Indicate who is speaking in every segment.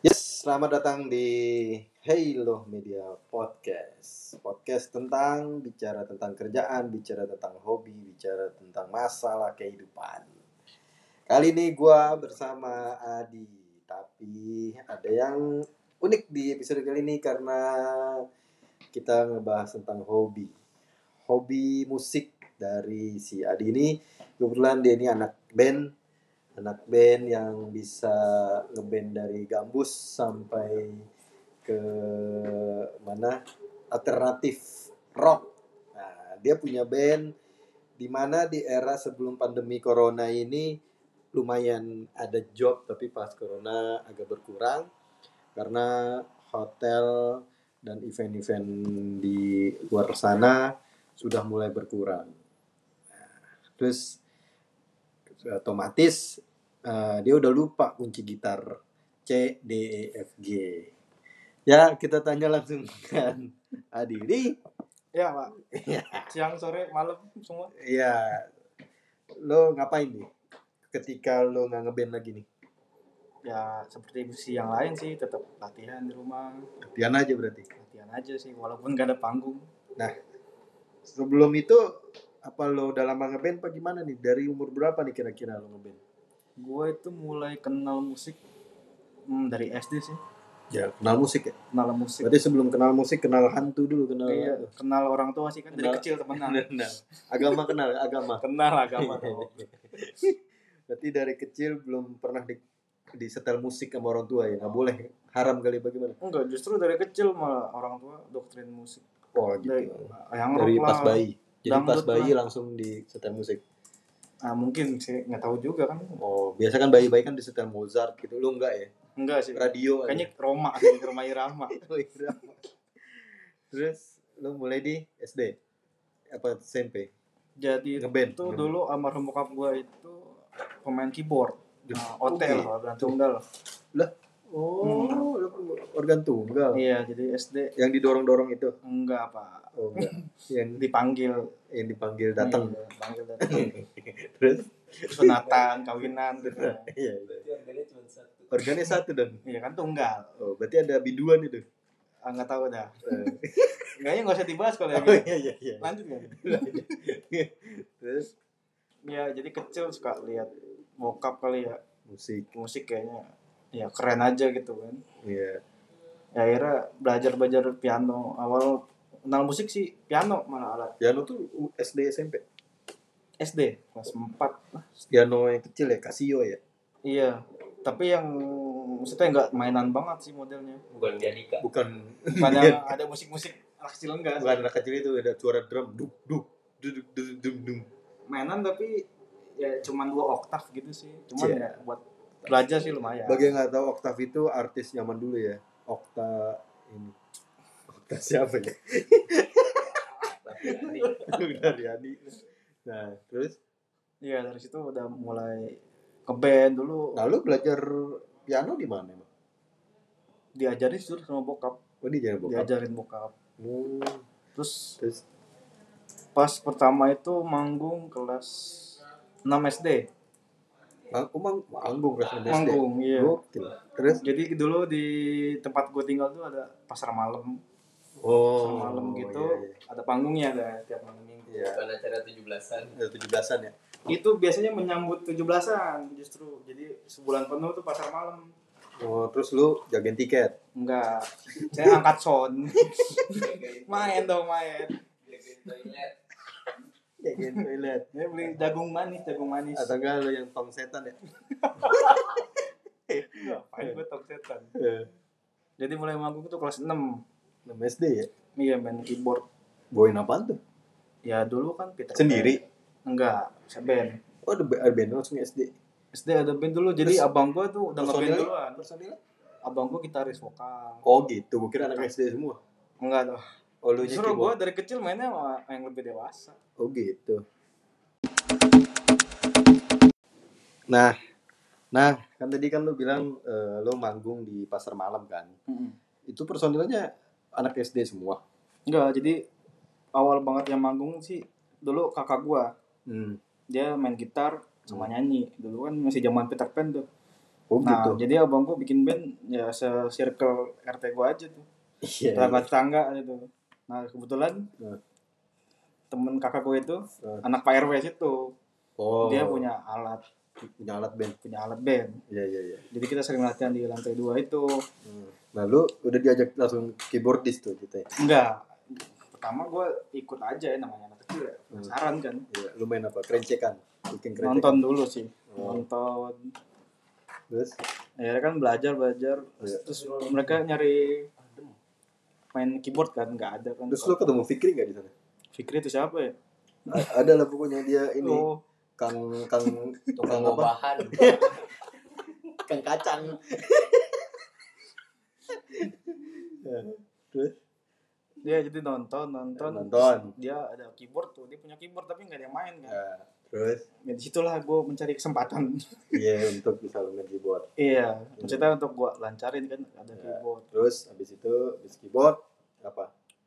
Speaker 1: Selamat datang di Halo Media Podcast. Podcast tentang bicara tentang kerjaan, bicara tentang hobi, bicara tentang masalah kehidupan. Kali ini gua bersama Adi, tapi ada yang unik di episode kali ini karena kita ngebahas tentang hobi. Hobi musik dari si Adi ini kebetulan dia ini anak band anak band yang bisa ngeband dari gambus sampai ke mana alternatif rock. Nah, dia punya band di mana di era sebelum pandemi corona ini lumayan ada job tapi pas corona agak berkurang karena hotel dan event-event di luar sana sudah mulai berkurang. Nah, Terus otomatis eh, dia udah lupa kunci gitar C D E F G. Ya kita tanya langsung kan Adi ini.
Speaker 2: Ya, Pak.
Speaker 1: Iya.
Speaker 2: Siang, sore, malam semua.
Speaker 1: Ya lo ngapain nih ketika lo nggak ngeband lagi nih?
Speaker 2: Ya, seperti musisi yang lain sih, tetap latihan di rumah,
Speaker 1: Latihan aja berarti.
Speaker 2: latihan aja sih, walaupun gak ada panggung.
Speaker 1: Sebelum itu apa lo udah lama ngeband apa gimana nih? Dari umur berapa nih kira-kira lo ngeband?
Speaker 2: Gue itu mulai kenal musik hmm, dari SD sih,
Speaker 1: Ya kenal musik ya.
Speaker 2: kenal musik.
Speaker 1: Berarti sebelum kenal musik kenal hantu dulu kenal. Nah,
Speaker 2: Iya, kenal orang tua sih kan dari
Speaker 1: Kenal-
Speaker 2: kecil temenan.
Speaker 1: Kenal. Agama kenal agama.
Speaker 2: kenal agama
Speaker 1: Iya,
Speaker 2: tuh.
Speaker 1: Berarti dari kecil belum pernah di, di setel musik sama orang tua ya? Nggak boleh? Haram kali ya, bagaimana?
Speaker 2: Enggak, justru dari kecil malah orang tua doktrin musik.
Speaker 1: Oh
Speaker 2: Dari, yang
Speaker 1: Dari
Speaker 2: rock
Speaker 1: pas
Speaker 2: lah.
Speaker 1: bayi. Jadi pas
Speaker 2: Dangdut
Speaker 1: bayi
Speaker 2: lah.
Speaker 1: langsung di setel musik.
Speaker 2: Ah, mungkin sih, nggak tahu juga kan.
Speaker 1: Oh, biasa kan bayi-bayi kan di setel Mozart gitu. Lu enggak ya?
Speaker 2: Enggak sih.
Speaker 1: Radio aja. Oh, iya.
Speaker 2: Kayaknya Roma sih, ke rumah Irama.
Speaker 1: Terus lu mulai di SD? Apa SMP?
Speaker 2: Jadi
Speaker 1: Ngeband?
Speaker 2: itu dulu almarhum bokap gue itu pemain keyboard nah, hotel
Speaker 1: Oke.
Speaker 2: organ tunggal
Speaker 1: Oh, lu organ tunggal.
Speaker 2: Hmm. iya jadi SD
Speaker 1: Yang didorong-dorong itu?
Speaker 2: enggak apa
Speaker 1: Oh, enggak. yang,
Speaker 2: dipanggil
Speaker 1: yang dipanggil datang.
Speaker 2: Iya, panggil datang Iya.
Speaker 1: Terus?
Speaker 2: sunatan kawinan gitu
Speaker 1: Iya. Organnya satu dan
Speaker 2: iya kan tunggal
Speaker 1: Oh, berarti ada biduan itu.
Speaker 2: Ah, nggak tahu dah kayaknya nggak usah dibahas kalau yang
Speaker 1: oh
Speaker 2: ini.
Speaker 1: iya iya iya.
Speaker 2: lanjut kan
Speaker 1: Terus
Speaker 2: ya jadi kecil suka lihat bokap kali ya
Speaker 1: musik.
Speaker 2: musik kayaknya ya keren aja gitu kan
Speaker 1: Iya.
Speaker 2: ya akhirnya belajar belajar piano awal kenal musik sih piano malah alat
Speaker 1: Piano tuh U- SD SMP.
Speaker 2: SD kelas 4
Speaker 1: Piano yang kecil ya, Casio ya.
Speaker 2: Iya, tapi yang maksudnya nggak mainan banget sih modelnya.
Speaker 3: bukan Jadika
Speaker 1: Bukan
Speaker 2: Bukan
Speaker 1: Iya.
Speaker 2: yang ada musik-musik anak kecil enggak.
Speaker 1: bukan anak kecil itu ada suara drum duk duk duduk duduk dum dum.
Speaker 2: Mainan tapi ya cuman dua oktav gitu sih. Cuman
Speaker 1: Iya.
Speaker 2: ya buat belajar sih lumayan.
Speaker 1: Bagi yang nggak tahu Oktav itu artis zaman dulu ya. Okta ini. Okta siapa ya?
Speaker 3: tapi nanti
Speaker 1: Dari Adi. Nah, terus
Speaker 2: Iya, dari situ udah mulai ke band dulu
Speaker 1: nah lu belajar piano di mana emang?
Speaker 2: diajarin sih sama bokap.
Speaker 1: Oh, di jalan bokap.
Speaker 2: diajarin bokap
Speaker 1: Hmm,
Speaker 2: terus
Speaker 1: terus
Speaker 2: pas pertama itu manggung kelas 6 SD
Speaker 1: aku mang manggung kelas enam SD.
Speaker 2: manggung iya
Speaker 1: Gokil. Terus
Speaker 2: jadi dulu di tempat gue tinggal tuh ada pasar malam
Speaker 1: oh,
Speaker 2: Pasar malam gitu ada panggungnya ada tiap malam minggu
Speaker 1: Iya,
Speaker 3: bukan acara 17-an
Speaker 1: iya. tujuh belasan ya.
Speaker 2: itu biasanya menyambut 17-an justru jadi sebulan penuh tuh pasar malam
Speaker 1: Oh, terus lu jagain tiket.
Speaker 2: enggak saya angkat sound main dong main
Speaker 3: Jagain toilet
Speaker 1: Jagain toilet.
Speaker 2: saya beli jagung manis jagung manis
Speaker 1: Atau enggak lu yang tong setan ya?
Speaker 2: ngapain gue tong setan
Speaker 1: Eh,
Speaker 2: jadi mulai manggung tuh kelas 6
Speaker 1: enam SD ya.
Speaker 2: iya main keyboard
Speaker 1: Bawain apaan tuh?
Speaker 2: ya dulu kan Peter Pan.
Speaker 1: Sendiri.
Speaker 2: enggak saya band
Speaker 1: Oh, ada ba- ada band langsung SD.
Speaker 2: SD ada band dulu jadi
Speaker 1: Terus-
Speaker 2: abang gue tuh udah ngeband
Speaker 1: personilnya?
Speaker 2: duluan
Speaker 1: Personilnya?
Speaker 2: abang gue gitaris vokal
Speaker 1: Oh, gitu. Gua kira anak SD semua.
Speaker 2: enggak tuh
Speaker 1: Oh, lu
Speaker 2: justru gue dari kecil mainnya sama yang lebih dewasa
Speaker 1: Oh, gitu. Nah, nah kan tadi kan lu bilang eh, lu manggung di pasar malam kan. Itu personilnya anak SD semua.
Speaker 2: Enggak, jadi awal banget yang manggung sih dulu kakak gua,
Speaker 1: Hmm.
Speaker 2: dia main gitar sama nyanyi. Dulu kan masih zaman Peter Pan tuh.
Speaker 1: Oh
Speaker 2: Nah,
Speaker 1: gitu.
Speaker 2: jadi abang gua bikin band ya se-circle RT gua aja tuh.
Speaker 1: Iya.
Speaker 2: Tetangga-tetangga gitu. Nah, kebetulan
Speaker 1: Hmm.
Speaker 2: temen kakak gue itu
Speaker 1: Hmm.
Speaker 2: anak Pak RW situ.
Speaker 1: Oh.
Speaker 2: Dia punya alat
Speaker 1: punya alat band.
Speaker 2: punya alat band.
Speaker 1: Iya iya iya.
Speaker 2: Jadi kita sering latihan di lantai dua itu.
Speaker 1: Hmm. Nah lu udah diajak langsung keyboardis tuh gitu ya.
Speaker 2: Enggak. Pertama gua ikut aja ya namanya anak kecil ya.
Speaker 1: Hmm.
Speaker 2: Penasaran kan.
Speaker 1: Iya, Lu main apa? Krencekan. Bikin krencekan.
Speaker 2: Nonton dulu sih.
Speaker 1: Oh.
Speaker 2: Nonton.
Speaker 1: Terus
Speaker 2: Ya kan belajar belajar.
Speaker 1: Iya.
Speaker 2: Terus mereka nyari main keyboard kan nggak ada kan.
Speaker 1: terus lu ketemu Fikri gak di sana?
Speaker 2: Fikri itu siapa ya?
Speaker 1: A- ada lah pokoknya dia ini
Speaker 2: Oh,
Speaker 1: Kang Kang
Speaker 3: tukang
Speaker 1: Kang apa?
Speaker 3: obahan
Speaker 1: Kang kacang.
Speaker 2: dia jadi nonton nonton
Speaker 1: Nonton.
Speaker 2: dia ada keyboard tuh dia punya keyboard tapi nggak ada yang main kan
Speaker 1: Nah, terus
Speaker 2: ya disitulah gue mencari kesempatan
Speaker 1: iya untuk bisa lu main keyboard.
Speaker 2: iya maksudnya untuk gue lancarin kan ada
Speaker 1: Iya.
Speaker 2: keyboard
Speaker 1: Terus habis itu habis keyboard apa? Iya.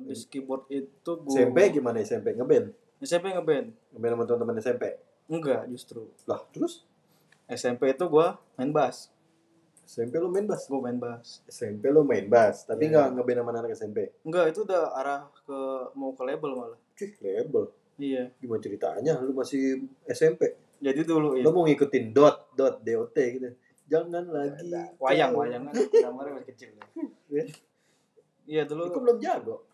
Speaker 2: habis keyboard itu Ya, gue
Speaker 1: SMP gimana SMP ngeband?
Speaker 2: SMP ngeband
Speaker 1: Ngeband sama teman-teman SMP.
Speaker 2: enggak justru
Speaker 1: Lah, terus
Speaker 2: SMP itu gue main bass
Speaker 1: SMP lu main bass?
Speaker 2: gue main bass
Speaker 1: SMP lu main bass, tapi
Speaker 2: Iya.
Speaker 1: nggak ngeband sama anak SMP.
Speaker 2: enggak itu udah arah ke mau ke label malah
Speaker 1: Cih, label.
Speaker 2: iya
Speaker 1: Gimana ceritanya? Lu masih SMP.
Speaker 2: jadi dulu iya.
Speaker 1: Lu
Speaker 2: itu
Speaker 1: mau ngikutin dot, dot, DOT gitu. Jangan lagi.
Speaker 2: wayang
Speaker 1: kau.
Speaker 2: wayang kan gambarnya masih kecil
Speaker 1: Iya.
Speaker 2: iya
Speaker 1: Itu
Speaker 2: dulu
Speaker 1: belum jago.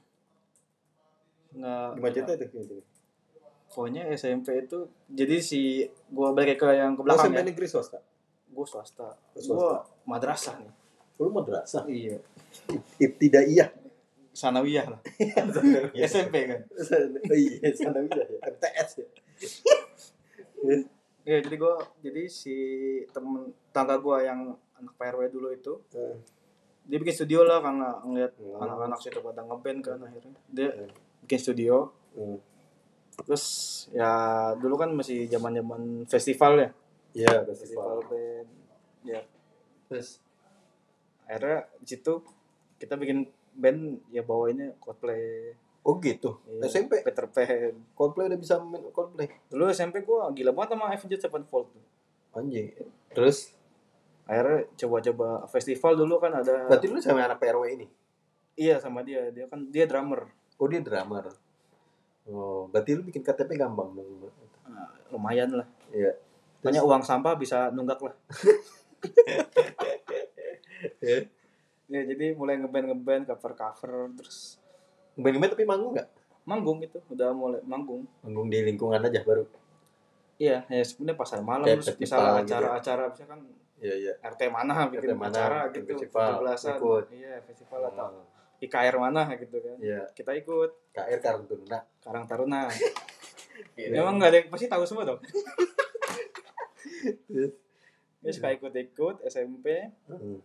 Speaker 2: nggak
Speaker 1: Gimana ceritanya tuh? Gimana ceritanya?
Speaker 2: pokoknya SMP itu jadi si gua balik ke yang ke
Speaker 1: Lu
Speaker 2: belakang
Speaker 1: SMP
Speaker 2: ya
Speaker 1: negeri swasta?
Speaker 2: gua swasta
Speaker 1: Lu swasta.
Speaker 2: gua madrasah nih
Speaker 1: Lu madrasah? iya.
Speaker 2: iya
Speaker 1: Ibtidaiyah.
Speaker 2: sanawiyah lah SMP kan
Speaker 1: Oh iya, sanawiyah ya. MTS ya.
Speaker 2: iya jadi gua jadi si temen tangga gua yang anak PRW dulu itu
Speaker 1: Eh,
Speaker 2: dia bikin studio lah karena ngeliat
Speaker 1: Oh.
Speaker 2: anak-anak situ pada ngeband kan akhirnya dia
Speaker 1: Eh.
Speaker 2: bikin studio
Speaker 1: eh.
Speaker 2: terus ya dulu kan masih zaman zaman festival ya
Speaker 1: Iya, festival.
Speaker 2: festival band ya
Speaker 1: Terus
Speaker 2: akhirnya di situ kita bikin band ya bawainnya Coldplay
Speaker 1: Oh gitu.
Speaker 2: Iya,
Speaker 1: SMP
Speaker 2: Peter Pan
Speaker 1: Coldplay udah bisa main Coldplay.
Speaker 2: dulu SMP gua gila banget sama Avenged Sevenfold tuh
Speaker 1: Anjing. Terus
Speaker 2: akhirnya coba-coba festival dulu kan ada
Speaker 1: berarti lu sama anak PRW ini?
Speaker 2: iya sama dia dia kan dia drummer
Speaker 1: Oh dia drummer. Oh, berarti lu bikin KTP gampang dong.
Speaker 2: Nah, lumayan lah
Speaker 1: Iya.
Speaker 2: banyak uang sampah bisa nunggak lah
Speaker 1: Iya.
Speaker 2: ya jadi mulai ngeband ngeband cover cover terus
Speaker 1: Band tapi manggung nggak?
Speaker 2: manggung gitu udah mulai manggung
Speaker 1: Manggung di lingkungan aja baru.
Speaker 2: iya ya sebenarnya pasar malam
Speaker 1: Kayak
Speaker 2: terus
Speaker 1: festival
Speaker 2: misalnya
Speaker 1: gitu ya.
Speaker 2: acara-acara misalkan
Speaker 1: Iya iya.
Speaker 2: RT mana bikin
Speaker 1: RT mana,
Speaker 2: acara
Speaker 1: bikin
Speaker 2: gitu
Speaker 1: festival,
Speaker 2: 17-an.
Speaker 1: ikut.
Speaker 2: iya festival atau IKR mana gitu kan
Speaker 1: Hmm. Iya.
Speaker 2: kita ikut
Speaker 1: KR Karang Taruna.
Speaker 2: Karang Taruna
Speaker 3: Iya.
Speaker 2: Memang gak ada yang pasti tahu semua dong.
Speaker 1: Iya.
Speaker 2: Dia suka ikut-ikut SMP,
Speaker 1: Heeh.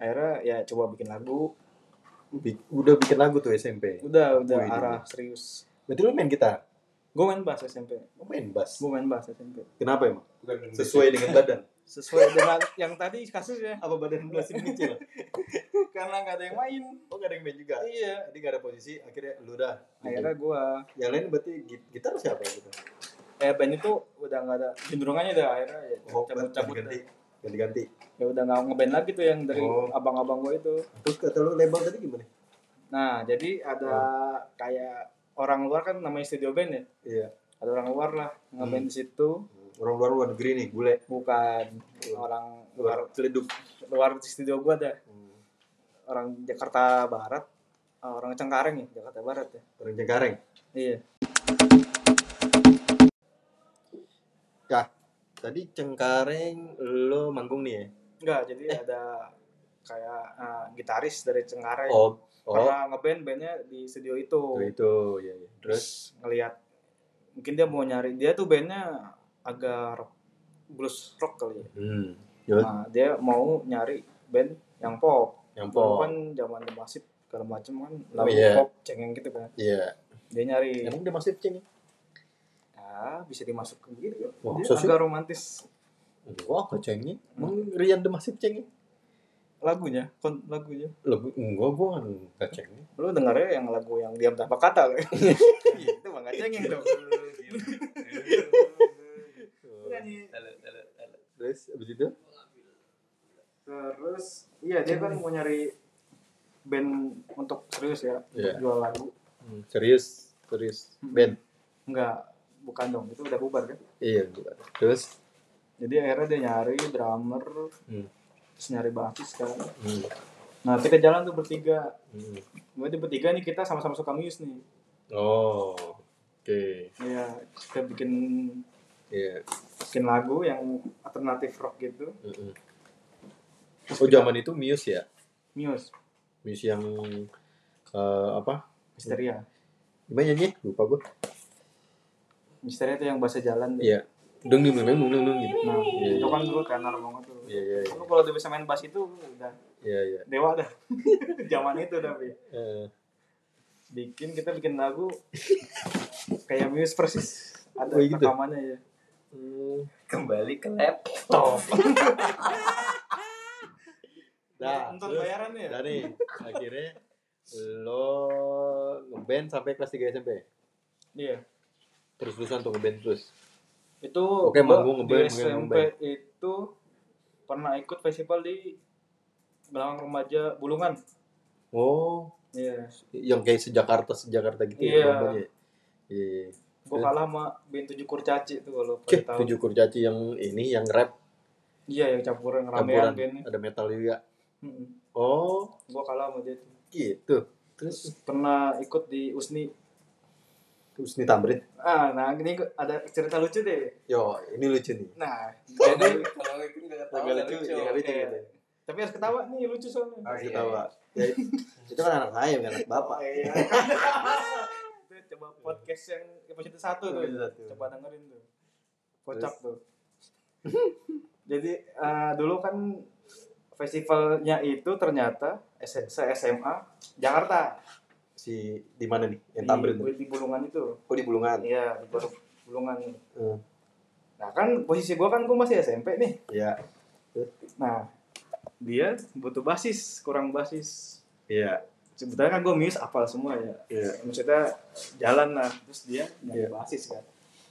Speaker 2: akhirnya ya coba bikin lagu.
Speaker 1: Bi- Udah bikin lagu tuh SMP.
Speaker 2: Udah udah
Speaker 1: Wih,
Speaker 2: arah serius.
Speaker 1: Berarti lu main gitar?
Speaker 2: Gue main bass SMP.
Speaker 1: Lu main bass?
Speaker 2: Gue main bass SMP.
Speaker 1: Kenapa emang?
Speaker 3: Bukan gendut.
Speaker 1: Sesuai dengan badan.
Speaker 2: Sesuai dengan yang tadi kasusnya
Speaker 1: Apa badan lu masih kecil?
Speaker 2: karena gak ada yang main.
Speaker 1: Oh gak ada yang main juga.
Speaker 2: Iya.
Speaker 1: Jadi gak ada posisi. Akhirnya lu dah.
Speaker 2: Akhirnya gue
Speaker 1: Yang lain berarti git- gitar siapa gitu?
Speaker 2: eh band itu udah gak ada cenderungannya udah akhirnya ya cabut-cabut.
Speaker 1: Oh, ganti
Speaker 2: dah.
Speaker 1: ganti ganti.
Speaker 2: Ya udah gak ngeband lagi tuh yang dari
Speaker 1: Oh.
Speaker 2: abang-abang gue itu.
Speaker 1: Terus kata lu label tadi gimana?
Speaker 2: Nah jadi ada
Speaker 1: Ya.
Speaker 2: kayak orang luar kan namanya studio band ya.
Speaker 1: Iya.
Speaker 2: Ada orang luar lah ngeband
Speaker 1: Hmm.
Speaker 2: di situ.
Speaker 1: Orang luar luar negeri nih, bule.
Speaker 2: bukan orang
Speaker 1: Luar
Speaker 2: luar
Speaker 1: celeduk.
Speaker 2: luar studio gua ada
Speaker 1: Hmm.
Speaker 2: orang Jakarta Barat eh, orang Cengkareng ya Jakarta Barat ya
Speaker 1: Orang Cengkareng.
Speaker 2: iya
Speaker 1: Ya, Tadi Cengkareng lo manggung nih ya?
Speaker 2: enggak jadi ada kayak eh, gitaris dari Cengkareng
Speaker 1: Oh, oh.
Speaker 2: pernah ngeband bandnya di studio itu
Speaker 1: Itu, itu ya, ya. Terus
Speaker 2: terus ngelihat mungkin dia mau nyari dia tuh bandnya agak rock, blues rock kali ya
Speaker 1: hmm. Terus
Speaker 2: nah dia mau nyari band yang pop
Speaker 1: yang
Speaker 2: Dulu
Speaker 1: pop.
Speaker 2: kan zaman The masif segala macem kan
Speaker 1: Oh,
Speaker 2: lagu
Speaker 1: iya.
Speaker 2: pop cengeng gitu kan
Speaker 1: Iya.
Speaker 2: dia nyari
Speaker 1: Emang dia masih ceng.
Speaker 2: Ah, bisa dimasukkan gitu.
Speaker 1: Wah,
Speaker 2: Dia
Speaker 1: masa sih?
Speaker 2: agak romantis
Speaker 1: Wah, kok cengnya? Emang Rian de masih ceng?
Speaker 2: lagunya, kon lagunya.
Speaker 1: Lo enggak gua kan enggak ceng.
Speaker 2: Lu dengarnya yang lagu yang diam tanpa kata kan?
Speaker 1: Iya.
Speaker 2: Itu mah nggak cengeng dong.
Speaker 3: Tele, tele, tele.
Speaker 1: Terus abis itu?
Speaker 2: Terus iya dia kan mau nyari band untuk serius ya, untuk
Speaker 1: Iya.
Speaker 2: jual lagu.
Speaker 1: Hmm, serius, serius.
Speaker 2: Hmm.
Speaker 1: Ben.
Speaker 2: Enggak, bukan dong, itu udah bubar kan.
Speaker 1: Iya, bukan. Terus?
Speaker 2: Jadi akhirnya dia nyari drummer,
Speaker 1: Hmm.
Speaker 2: terus nyari bassist kan.
Speaker 1: Hmm.
Speaker 2: Nah kita jalan tuh bertiga.
Speaker 1: hmm.
Speaker 2: Gue di bertiga nih kita sama-sama suka muse nih.
Speaker 1: Oh, oke.
Speaker 2: Iya, kita bikin
Speaker 1: Iya.
Speaker 2: bikin lagu yang alternatif rock gitu,
Speaker 1: Mm-mm. Oh, zaman itu Muse ya?
Speaker 2: muse,
Speaker 1: Muse yang eh, apa? Iya.
Speaker 2: Misteria.
Speaker 1: Gimana nyanyi? Lupa gue.
Speaker 2: Misteria itu yang bahasa jalan. tuh.
Speaker 1: Iya. Dung dung dung dung dung dung gitu.
Speaker 2: Nah,
Speaker 1: Iya.
Speaker 2: itu kan dulu tenor banget tuh.
Speaker 1: Iya, iya, iya.
Speaker 2: Lu kalau udah bisa main bass itu udah
Speaker 1: Iya, iya.
Speaker 2: dewa dah. Zaman itu tapi
Speaker 1: Eh,
Speaker 2: bikin kita bikin lagu kayak Muse persis. Ada
Speaker 1: Oh, gitu?
Speaker 2: rekamannya ya.
Speaker 1: hmm.
Speaker 3: Kembali ke
Speaker 2: Top.
Speaker 3: laptop.
Speaker 1: Dah,
Speaker 2: Nonton
Speaker 1: terus?
Speaker 2: bayaran ya.
Speaker 1: Dah nih, akhirnya lo ngeband sampai kelas 3 SMP.
Speaker 2: Iya.
Speaker 1: Terus-terusan tuh ngeband terus.
Speaker 2: Itu
Speaker 1: Oke,
Speaker 2: gua
Speaker 1: manggung ngeband,
Speaker 2: di
Speaker 1: mungkin
Speaker 2: SMP
Speaker 1: ngeband.
Speaker 2: itu pernah ikut festival di belakang remaja Bulungan.
Speaker 1: Oh,
Speaker 2: Iya.
Speaker 1: yang kayak sejakarta sejakarta gitu
Speaker 2: Iya.
Speaker 1: ya namanya. Iya.
Speaker 2: Gue kalah sama band tujuh kurcaci tuh kalau
Speaker 1: Oke,
Speaker 2: pada tahu.
Speaker 1: tujuh kurcaci yang ini yang rap
Speaker 2: Iya yang campuran
Speaker 1: campuran
Speaker 2: ramean bandnya.
Speaker 1: ada metal juga.
Speaker 2: Mm-mm.
Speaker 1: Oh,
Speaker 2: Gua kalah sama dia tuh.
Speaker 1: gitu. Terus
Speaker 2: Pernah ikut di Usni.
Speaker 1: Husni Tamrin.
Speaker 2: Ah, nah ini gua- ada cerita lucu deh.
Speaker 1: Yo, ini lucu nih.
Speaker 2: Nah,
Speaker 3: Jadi kalau itu nggak ketawa
Speaker 1: Agak
Speaker 3: nggak
Speaker 1: lucu,
Speaker 3: lucu.
Speaker 1: agak lucu
Speaker 2: Iya.
Speaker 1: gitu.
Speaker 2: tapi harus ketawa nih lucu soalnya.
Speaker 3: Oh, iya.
Speaker 1: Ketawa. Ya, itu kan anak saya, bukan anak bapak.
Speaker 2: iya. Itu coba podcast yang episode satu tuh.
Speaker 1: Episode satu.
Speaker 2: Coba dengerin tuh. Kocak tuh. Jadi eh, dulu kan festivalnya itu ternyata S- se SMA Jakarta
Speaker 1: Si di mana nih? Yang
Speaker 2: di,
Speaker 1: Tamrin. tuh?
Speaker 2: di Bulungan itu.
Speaker 1: Oh, di Bulungan.
Speaker 2: Iya, di Bul- Bulungan.
Speaker 1: Hmm.
Speaker 2: Nah, kan posisi gua kan gua masih SMP nih.
Speaker 1: Iya.
Speaker 2: Nah, dia butuh basis, kurang basis.
Speaker 1: Iya.
Speaker 2: Sebetulnya kan gue miss apal semua ya.
Speaker 1: Iya.
Speaker 2: Maksudnya jalan lah, terus dia
Speaker 1: Iya.
Speaker 2: nyari basis kan.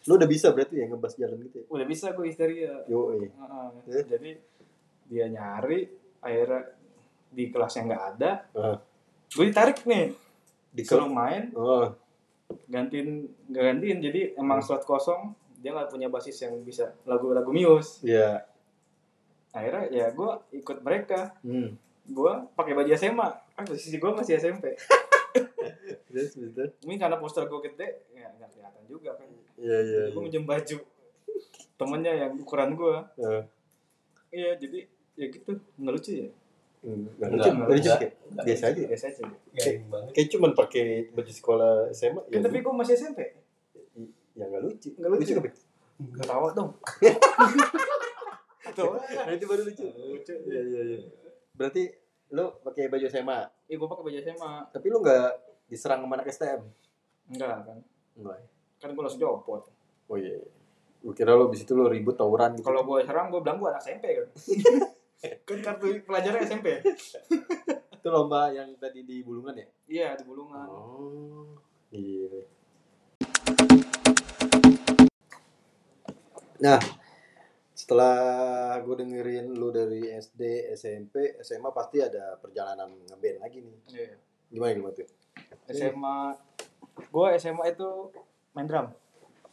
Speaker 1: Lu udah bisa berarti ya ngebas jalan gitu ya?
Speaker 2: Udah bisa gue histeria.
Speaker 1: Yo, eh.
Speaker 2: Heeh.
Speaker 1: Terus?
Speaker 2: Jadi dia nyari, akhirnya di kelas yang nggak ada,
Speaker 1: Heeh.
Speaker 2: gue ditarik nih,
Speaker 1: Ah, Di
Speaker 2: disuruh main,
Speaker 1: Oh,
Speaker 2: gantiin, nggak gantiin, jadi
Speaker 1: Hmm.
Speaker 2: emang slot kosong, dia nggak punya basis yang bisa lagu-lagu mius.
Speaker 1: iya.
Speaker 2: Akhirnya ya gue ikut mereka,
Speaker 1: Hmm.
Speaker 2: gue pakai baju SMA kan posisi gue masih SMP
Speaker 1: Terus betul.
Speaker 2: ini karena poster gue gede ya nggak kelihatan juga kan
Speaker 1: Iya, iya.
Speaker 2: gue minjem baju temennya yang ukuran gue
Speaker 1: Heeh.
Speaker 2: iya jadi ya gitu nggak lucu ya
Speaker 1: Enggak
Speaker 3: Enggak,
Speaker 1: hmm. lucu, enggak lucu
Speaker 3: enggak.
Speaker 1: sih. Biasa aja. ya. Iya,
Speaker 2: biasa aja
Speaker 3: Garing banget.
Speaker 1: Kayak cuman pakai baju sekolah SMA
Speaker 2: ya, tapi gue masih SMP
Speaker 1: ya enggak lucu.
Speaker 2: Nggak lucu.
Speaker 1: apa?
Speaker 2: ketawa dong tuh
Speaker 1: Nah, itu baru lucu.
Speaker 2: lucu
Speaker 1: Iya, iya, iya. Berarti lu pakai baju SMA,
Speaker 2: ya gue pakai baju SMA
Speaker 1: tapi lu enggak diserang sama anak STM.
Speaker 2: enggak kan
Speaker 1: Enggak. ya?
Speaker 2: kan gue langsung jopot
Speaker 1: Oh iya. iya. Gue kira lu abis itu lu ribut tawuran gitu.
Speaker 2: kalau gue serang gue bilang gue anak SMP kan kan kartu pelajaran SMP
Speaker 1: itu lomba yang tadi di Bulungan ya?
Speaker 2: iya di bulungan
Speaker 1: Oh. Iya. Nah, setelah gue dengerin lu dari SD, SMP, SMA pasti ada perjalanan ngeband lagi nih.
Speaker 2: Iya.
Speaker 1: Gimana gimana tuh?
Speaker 2: SMA gue SMA itu main drum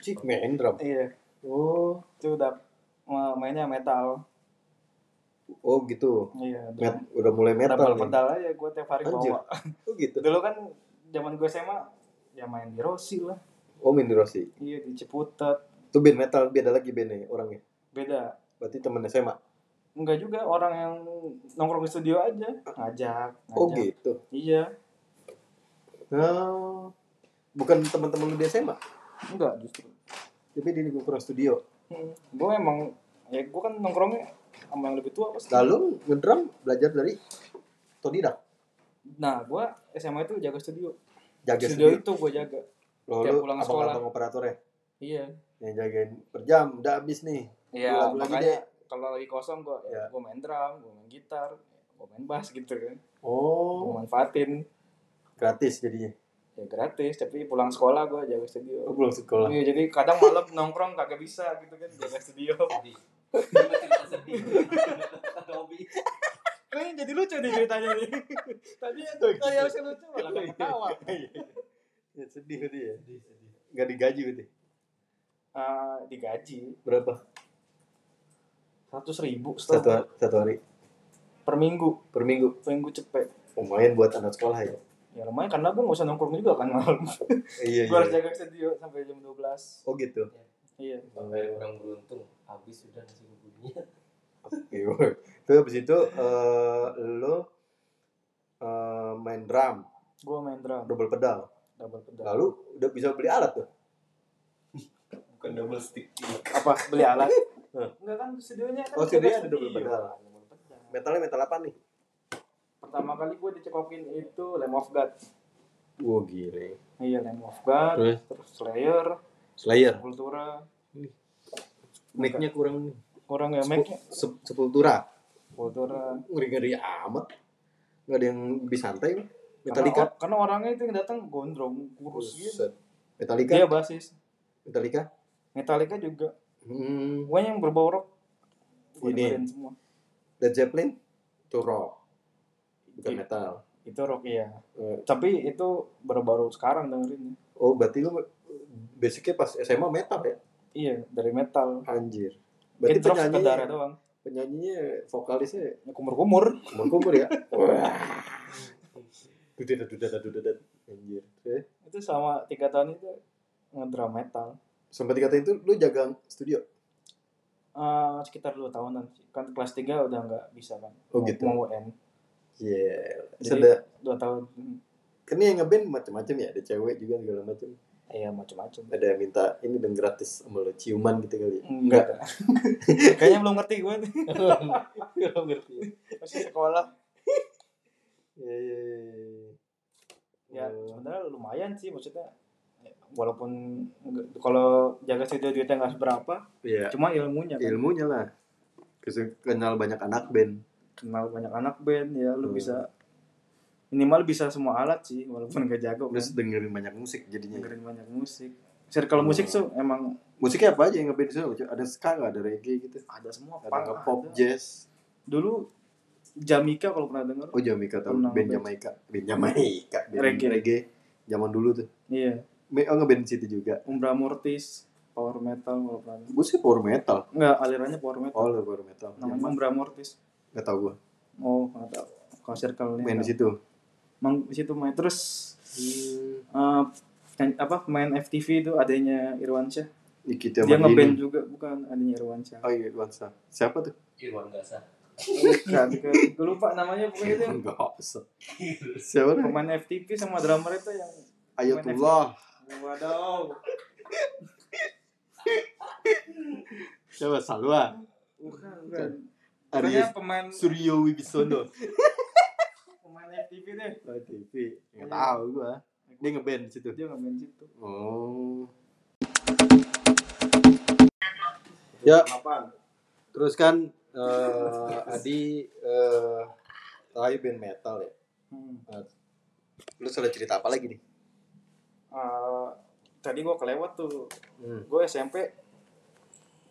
Speaker 1: Cik main drum.
Speaker 2: iya
Speaker 1: Oh,
Speaker 2: itu udah ma- mainnya metal
Speaker 1: oh gitu.
Speaker 2: iya
Speaker 1: Met, udah mulai metal
Speaker 2: metal
Speaker 1: nih.
Speaker 2: pedal aja gue tiap hari
Speaker 1: Anjir.
Speaker 2: bawa
Speaker 1: Oh gitu.
Speaker 2: dulu kan zaman gue SMA ya main di Rossi lah
Speaker 1: Oh main di Rossi.
Speaker 2: iya di Ciputat
Speaker 1: Itu band metal beda lagi bandnya orangnya.
Speaker 2: beda
Speaker 1: Berarti temen SMA.
Speaker 2: enggak juga orang yang nongkrong di studio aja ngajak ngajak
Speaker 1: Oh gitu.
Speaker 2: iya
Speaker 1: Nah, bukan teman-teman lu di SMA,
Speaker 2: enggak justru
Speaker 1: tapi di lingkungan studio.
Speaker 2: gue emang ya gue kan nongkrongnya sama yang lebih tua pasti
Speaker 1: Lalu ngedrum belajar dari Todidak.
Speaker 2: nah gue SMA itu jaga studio
Speaker 1: Jaga
Speaker 2: studio
Speaker 1: sendiri.
Speaker 2: itu gue jaga
Speaker 1: Lalu
Speaker 2: tiap pulang sekolah.
Speaker 1: abang operatornya
Speaker 2: iya
Speaker 1: yang jagain per jam udah habis nih.
Speaker 2: Iya,
Speaker 1: Lagu lagi
Speaker 2: makanya kalau lagi kosong gua
Speaker 1: Ya.
Speaker 2: gua main drum, gua main gitar, gua main bass gitu kan. Gua
Speaker 1: Oh,
Speaker 2: manfaatin
Speaker 1: gratis jadinya.
Speaker 2: ya gratis, tapi pulang sekolah gua
Speaker 1: Oh,
Speaker 2: jaga studio.
Speaker 1: pulang sekolah.
Speaker 2: Iya, jadi kadang malam nongkrong kagak bisa gitu kan jaga studio.
Speaker 3: Jadi, ini cerita Hobi.
Speaker 2: Kayaknya jadi lucu nih ceritanya nih. Tadi itu kayak harusnya lucu Iya. malah nggak ketawa.
Speaker 1: ya sedih berarti ya nggak digaji berarti
Speaker 2: Eh, digaji
Speaker 1: berapa
Speaker 2: seratus ribu
Speaker 1: satu
Speaker 2: setahun
Speaker 1: hari, satu hari
Speaker 2: per minggu
Speaker 1: per minggu
Speaker 2: per minggu cepet.
Speaker 1: lumayan buat anak sekolah ya
Speaker 2: Ya lumayan karena gue nggak usah nongkrong juga kan malam.
Speaker 1: iya
Speaker 2: gue harus jaga ke studio sampai jam 12
Speaker 1: oh gitu
Speaker 2: Iya.
Speaker 3: Bangga orang beruntung. Habis sudah nasi bubunya.
Speaker 1: oke Iya, terus habis itu eh, lo eh, main drum
Speaker 2: Gue main drum
Speaker 1: double pedal
Speaker 2: double pedal.
Speaker 1: lalu udah bisa beli alat tuh
Speaker 3: Bukan double stick.
Speaker 2: Apa beli alat?
Speaker 1: Hah.
Speaker 2: Enggak kan studionya kan.
Speaker 1: oh
Speaker 2: kita
Speaker 1: CD ada double
Speaker 2: studio.
Speaker 1: pedal
Speaker 2: Double pedal.
Speaker 1: metalnya metal apa nih
Speaker 2: Pertama kali gue dicekokin itu Lamb of God.
Speaker 1: Wah gile.
Speaker 2: Iya Lamb of God,
Speaker 1: Terus?
Speaker 2: terus Slayer,
Speaker 1: Slayer.
Speaker 2: Sepultura,
Speaker 1: Mic-nya kurang nih.
Speaker 2: kurang ya mic-nya.
Speaker 1: Sep- Sepultura.
Speaker 2: Sepultura.
Speaker 1: Ngeri-ngeri amat. Nggak ada yang lebih santai.
Speaker 2: Karena,
Speaker 1: Metallica. Oh,
Speaker 2: or- karena orangnya itu yang datang gondrong, kurus gitu.
Speaker 1: Buset. Iya. Metallica.
Speaker 2: Dia basis.
Speaker 1: Metallica.
Speaker 2: Metallica juga.
Speaker 1: Hmm.
Speaker 2: Gue yang berbau rock. Gua
Speaker 1: Ini.
Speaker 2: dengerin semua.
Speaker 1: Led Zeppelin. Itu rock. Bukan
Speaker 2: Iya.
Speaker 1: metal.
Speaker 2: Itu rock iya.
Speaker 1: Eh,
Speaker 2: Tapi itu baru-baru sekarang dengerinnya.
Speaker 1: Oh berarti lu basicnya pas SMA metal ya?
Speaker 2: Iya, dari metal.
Speaker 1: Anjir. Berarti ya?
Speaker 2: Berarti rock
Speaker 1: penyanyinya,
Speaker 2: sekedarnya doang.
Speaker 1: penyanyinya vokalisnya
Speaker 2: Ya, kumur-kumur.
Speaker 1: kumur-kumur ya? Wah. Dudet, dudet, dudet. Anjir. Eh,
Speaker 2: Itu sama tiga tahun itu ngedrum metal.
Speaker 1: Sampai dikatain itu lu jaga studio?
Speaker 2: Eh, sekitar dua tahunan sih. Kan kelas tiga udah nggak bisa kan.
Speaker 1: Oh, gitu.
Speaker 2: Mau mau UN.
Speaker 1: Iya.
Speaker 2: Jadi-
Speaker 1: Sudah
Speaker 2: Dua tahun. Hmm.
Speaker 1: kan yang ngeband macam-macam ya ada cewek juga segala macam
Speaker 2: Iya, macam-macam.
Speaker 1: ada yang minta ini dan gratis sama lo ciuman gitu kali ya?
Speaker 2: Enggak. Kayaknya belum ngerti gue nih.
Speaker 1: Nggak ngerti
Speaker 2: Masih sekolah.
Speaker 1: ya ya ya, ya.
Speaker 2: Ya,
Speaker 1: Oh,
Speaker 2: sebenarnya lumayan sih maksudnya. ya, Walaupun nggak- kalau jaga studio duitnya nggak seberapa,
Speaker 1: ya
Speaker 2: cuma ilmunya kan.
Speaker 1: ilmunya lah Kes- kenal banyak anak band
Speaker 2: kenal banyak anak band ya lu
Speaker 1: Hmm.
Speaker 2: bisa minimal bisa semua alat sih walaupun gak jago
Speaker 1: terus iya.
Speaker 2: kan
Speaker 1: dengerin banyak musik jadinya
Speaker 2: dengerin banyak musik circle
Speaker 1: Hmm.
Speaker 2: musik tuh emang
Speaker 1: musiknya apa aja yang ngeband sih ada ska nggak ada reggae gitu
Speaker 2: ada semua
Speaker 1: ada
Speaker 2: punk,
Speaker 1: nggak pop
Speaker 2: ada.
Speaker 1: jazz
Speaker 2: dulu Jamaica kalau pernah denger
Speaker 1: oh Jamaica tau
Speaker 2: Pernah
Speaker 1: band
Speaker 2: ngeband.
Speaker 1: Jamaica band Jamaica band reggae,
Speaker 2: Reggae.
Speaker 1: zaman dulu tuh
Speaker 2: iya
Speaker 1: Me- oh ngeband di situ juga
Speaker 2: Umbra Mortis power metal kalau pernah denger.
Speaker 1: gue sih power metal
Speaker 2: enggak alirannya power metal
Speaker 1: oh lu power metal
Speaker 2: namanya Umbra Mortis
Speaker 1: nggak tau gue
Speaker 2: oh nggak tahu kalau circle ini
Speaker 1: main di
Speaker 2: nggak.
Speaker 1: situ
Speaker 2: Emang di situ main terus eh, penyanyi- apa main FTV itu adanya Irwansyah
Speaker 1: Nikita
Speaker 2: dia ngeband
Speaker 1: Mandini.
Speaker 2: juga bukan adanya Irwansyah
Speaker 1: Oh iya, Wansa. Siapa tuh?
Speaker 3: Irwan Gasa.
Speaker 2: Bukan, bukan. Gue lupa namanya pokoknya itu
Speaker 1: Enggak usah. Siapa tuh?
Speaker 2: pemain FTP sama drummer itu yang
Speaker 1: Ayatullah.
Speaker 2: waduh
Speaker 1: Siapa? Salwa.
Speaker 2: bukan bukan
Speaker 1: Arya
Speaker 2: Pokoknya pemain
Speaker 1: Suryo Wibisono.
Speaker 2: pemain FTP deh
Speaker 1: Oh, TV. Nggak tahu gua. Dia ngeband di situ.
Speaker 2: Iya. dia nggak main situ
Speaker 1: Oh. Ya.
Speaker 2: apaan
Speaker 1: Terus kan eh, Adi eh tadi band metal ya.
Speaker 2: hmm.
Speaker 1: Lu salah cerita apa lagi nih?
Speaker 2: Eh, tadi gua kelewat tuh
Speaker 1: Hmm.
Speaker 2: gue SMP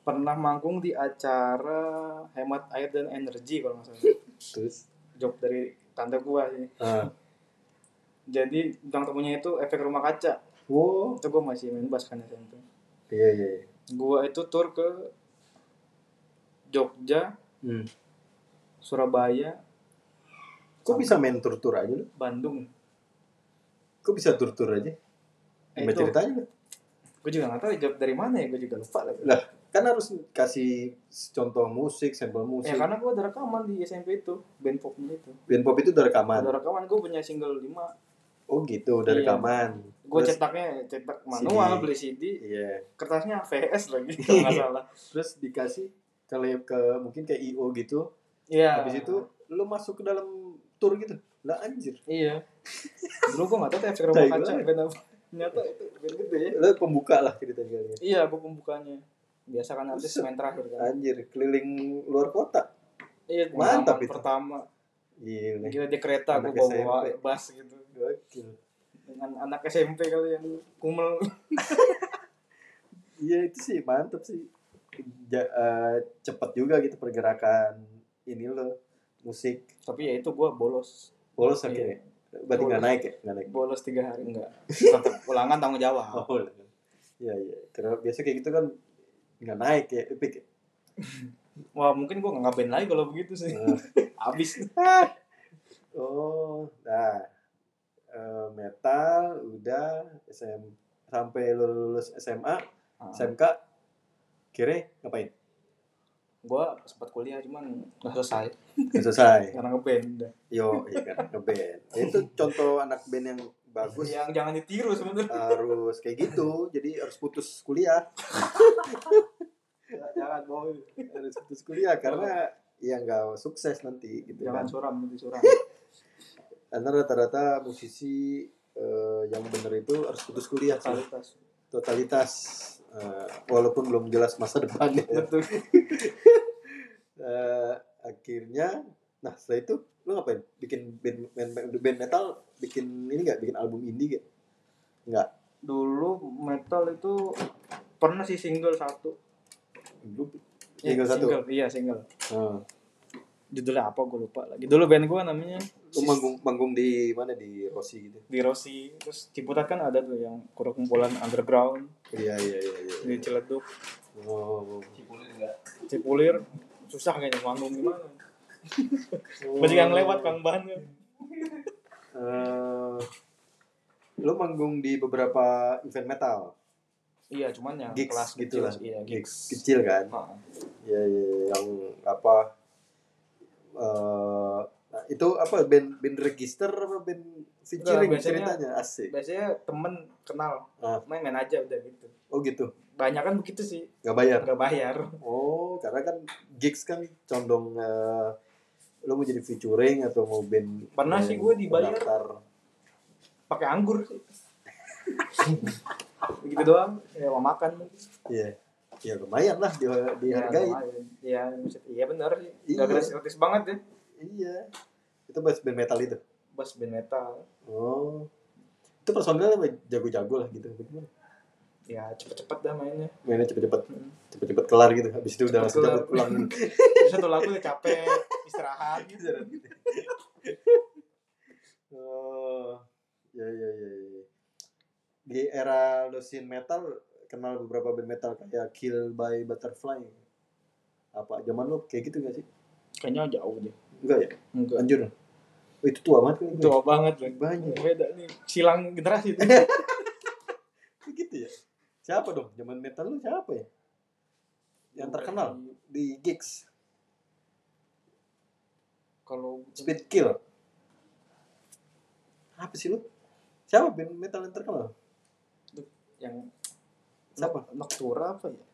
Speaker 2: pernah manggung di acara hemat air dan energi kalau nggak salah
Speaker 1: Terus
Speaker 2: job dari tante gua sih
Speaker 1: ah.
Speaker 2: jadi bintang temunya itu efek rumah kaca
Speaker 1: Wow.
Speaker 2: itu gua masih main bass kan SMP
Speaker 1: Iya, iya. iya.
Speaker 2: gua itu tur ke Jogja
Speaker 1: Hmm.
Speaker 2: Surabaya,
Speaker 1: Kok bisa main tur-tur aja lu?
Speaker 2: Bandung.
Speaker 1: Kok bisa tur-tur aja?
Speaker 2: Eh,
Speaker 1: Gimana
Speaker 2: itu-
Speaker 1: ceritanya lu?
Speaker 2: Gue juga nggak tahu job dari mana ya, gue juga lupa lagi.
Speaker 1: Lah, kan harus kasih contoh musik, sampel musik.
Speaker 2: Ya karena gue ada rekaman di SMP itu, band popnya itu.
Speaker 1: Band pop itu udah rekaman.
Speaker 2: Ada rekaman, gue punya single 5
Speaker 1: Oh gitu, udah
Speaker 2: Iya.
Speaker 1: rekaman.
Speaker 2: Gue
Speaker 1: Terus-
Speaker 2: cetaknya cetak manual,
Speaker 1: CD.
Speaker 2: beli CD,
Speaker 1: Iya.
Speaker 2: kertasnya VS lagi kalau nggak salah.
Speaker 1: Terus dikasih ke lab- ke mungkin ke IO gitu.
Speaker 2: Iya.
Speaker 1: Habis itu lu masuk ke dalam tour gitu. Lah anjir.
Speaker 2: Iya. Dulu gue nggak tahu tuh efek rumah
Speaker 1: Tai
Speaker 2: kaca
Speaker 1: banget.
Speaker 2: band apa. Ternyata itu band gede ya.
Speaker 1: Lu pembuka lah ceritanya kali ya.
Speaker 2: Iya, gue pembukanya. Biasa kan artis
Speaker 1: Buset.
Speaker 2: main terakhir kan.
Speaker 1: Anjir, keliling luar kota.
Speaker 2: Iya,
Speaker 1: Mantap
Speaker 2: pengalaman
Speaker 1: itu.
Speaker 2: Pertama,
Speaker 1: Gila.
Speaker 2: gila di kereta gue
Speaker 1: Anak
Speaker 2: bawa-bawa
Speaker 1: SMP.
Speaker 2: bass gitu.
Speaker 1: Gokil.
Speaker 2: dengan anak SMP kali yang kumel
Speaker 1: Iya itu sih mantep sih. ja- eh, cepet juga gitu pergerakan ini lo musik
Speaker 2: Tapi ya itu gue bolos.
Speaker 1: bolos
Speaker 2: Iya.
Speaker 1: akhirnya berarti nggak
Speaker 2: Bolos.
Speaker 1: naik ya nggak naik
Speaker 2: Bolos tiga hari. Enggak. Tetap ulangan tanggung jawab.
Speaker 1: oh iya iya karena biasa kayak gitu kan nggak naik ya epic ya.
Speaker 2: Wah mungkin gue nggak ngapain lagi kalau begitu sih.
Speaker 1: Nah.
Speaker 2: Abis.
Speaker 1: oh nah Eh, metal udah SM sampai lu lulus SMA SMK kira ngapain
Speaker 2: Gue sempat kuliah cuman nggak selesai
Speaker 1: Nggak selesai
Speaker 2: karena ngeband.
Speaker 1: yo iya kan ngeband itu contoh anak band yang bagus
Speaker 2: Yang jangan ditiru sebenarnya.
Speaker 1: harus kayak gitu jadi harus putus kuliah
Speaker 2: jangan bohong.
Speaker 1: harus putus kuliah karena ya nggak sukses nanti gitu kan
Speaker 2: Jangan suram, nanti suram.
Speaker 1: karena rata-rata musisi eh, yang bener itu harus putus kuliah sih.
Speaker 2: Totalitas.
Speaker 1: totalitas eh, walaupun belum jelas masa depannya
Speaker 2: Betul.
Speaker 1: Eh, akhirnya nah setelah itu lu ngapain bikin band, band, band metal bikin ini nggak bikin album indie gak?
Speaker 2: Dulu metal itu pernah sih single satu.
Speaker 1: Lu-
Speaker 2: Iya,
Speaker 1: Single satu?
Speaker 2: Iya single.
Speaker 1: Eh,
Speaker 2: Judulnya apa gue lupa lagi. Dulu band gue namanya
Speaker 1: lu manggung manggung di mana di Rossi gitu
Speaker 2: di Rossi terus Ciputat kan ada tuh yang kura kumpulan underground
Speaker 1: iya iya iya iya.
Speaker 2: di Ciledug
Speaker 1: oh,
Speaker 3: Cipulir enggak?
Speaker 2: Cipulir susah kayaknya manggung gimana banyak yang lewat kang ban kan?
Speaker 1: eh lu manggung di beberapa event metal
Speaker 2: iya cuman yang
Speaker 1: gigs
Speaker 2: kelas
Speaker 1: gitu
Speaker 2: kecil,
Speaker 1: lah
Speaker 2: iya gigs
Speaker 1: kecil kan
Speaker 2: Ha.
Speaker 1: ya, yang apa eh nah, itu apa band band register apa band featuring
Speaker 2: Enggak, biasanya-
Speaker 1: ceritanya asik
Speaker 2: biasanya temen kenal
Speaker 1: Ah.
Speaker 2: main main aja udah gitu
Speaker 1: oh gitu
Speaker 2: banyak kan begitu sih
Speaker 1: nggak bayar
Speaker 2: nggak bayar
Speaker 1: oh karena kan gigs kan condong eh, lu mau jadi featuring atau mau band
Speaker 2: Pernah
Speaker 1: band
Speaker 2: sih gua dibayar.
Speaker 1: pendaftar.
Speaker 2: pakai anggur sih begitu doang ya mau makan
Speaker 1: iya ya lumayan lah di, dihargai
Speaker 2: ya, lumayan. iya maksud- iya benar
Speaker 1: Iya.
Speaker 2: nggak gratis gratis banget ya
Speaker 1: iya itu bahas band metal itu
Speaker 2: bas band metal
Speaker 1: Oh. Itu personilnya apa? jago-jago lah gitu.
Speaker 2: ya cepet-cepet dah mainnya
Speaker 1: Mainnya cepet-cepet,
Speaker 2: Hmm.
Speaker 1: cepet-cepet kelar gitu. Habis itu udah langsung
Speaker 2: Cepet
Speaker 1: cabut pulang. Iya.
Speaker 2: Terus satu lagu udah capek istirahat gitu
Speaker 1: oh. Ya ya ya ya. Di era lusin metal kenal beberapa band metal kayak Kill by Butterfly. Apa zaman lu kayak gitu gak sih?
Speaker 2: kayaknya jauh deh
Speaker 1: Enggak ya?
Speaker 2: enggak
Speaker 1: Anjur. Oh, itu tua banget kan?
Speaker 2: tua banget lagi
Speaker 1: banyak.
Speaker 2: beda nih silang generasi itu
Speaker 1: Gitu ya. Siapa dong? Zaman metal lu siapa ya? Yang terkenal di gigs
Speaker 2: kalau
Speaker 1: Speed Kill. Apa sih lu? Siapa band metal yang terkenal?
Speaker 2: yang
Speaker 1: Siapa?
Speaker 2: Nok- Noctura apa ya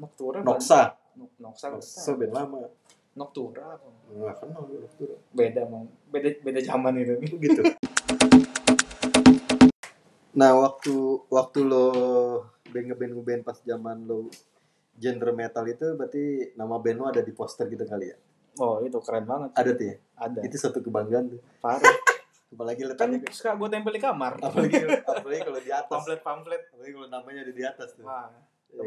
Speaker 2: Noctura apa?
Speaker 1: Noxa.
Speaker 2: Nok- Noxa
Speaker 1: Noxa band lama.
Speaker 2: Noctura apa
Speaker 1: Nggak kenal gue Noxa.
Speaker 2: beda mau beda beda zaman itu
Speaker 1: Gitu. nah waktu waktu lo band ngeband ngeband pas zaman lo genre metal itu berarti nama band lo ada di poster gitu kali ya?
Speaker 2: oh itu keren banget
Speaker 1: Ada tuh ya?
Speaker 2: ada
Speaker 1: Itu satu kebanggaan tuh.
Speaker 2: parah
Speaker 1: Apalagi
Speaker 2: kan
Speaker 1: letaknya
Speaker 2: suka gue tempel di kamar
Speaker 1: apalagi apalagi kalau di atas.
Speaker 2: pamflet pamflet
Speaker 1: Apalagi kalau namanya ada di atas tuh.
Speaker 2: wah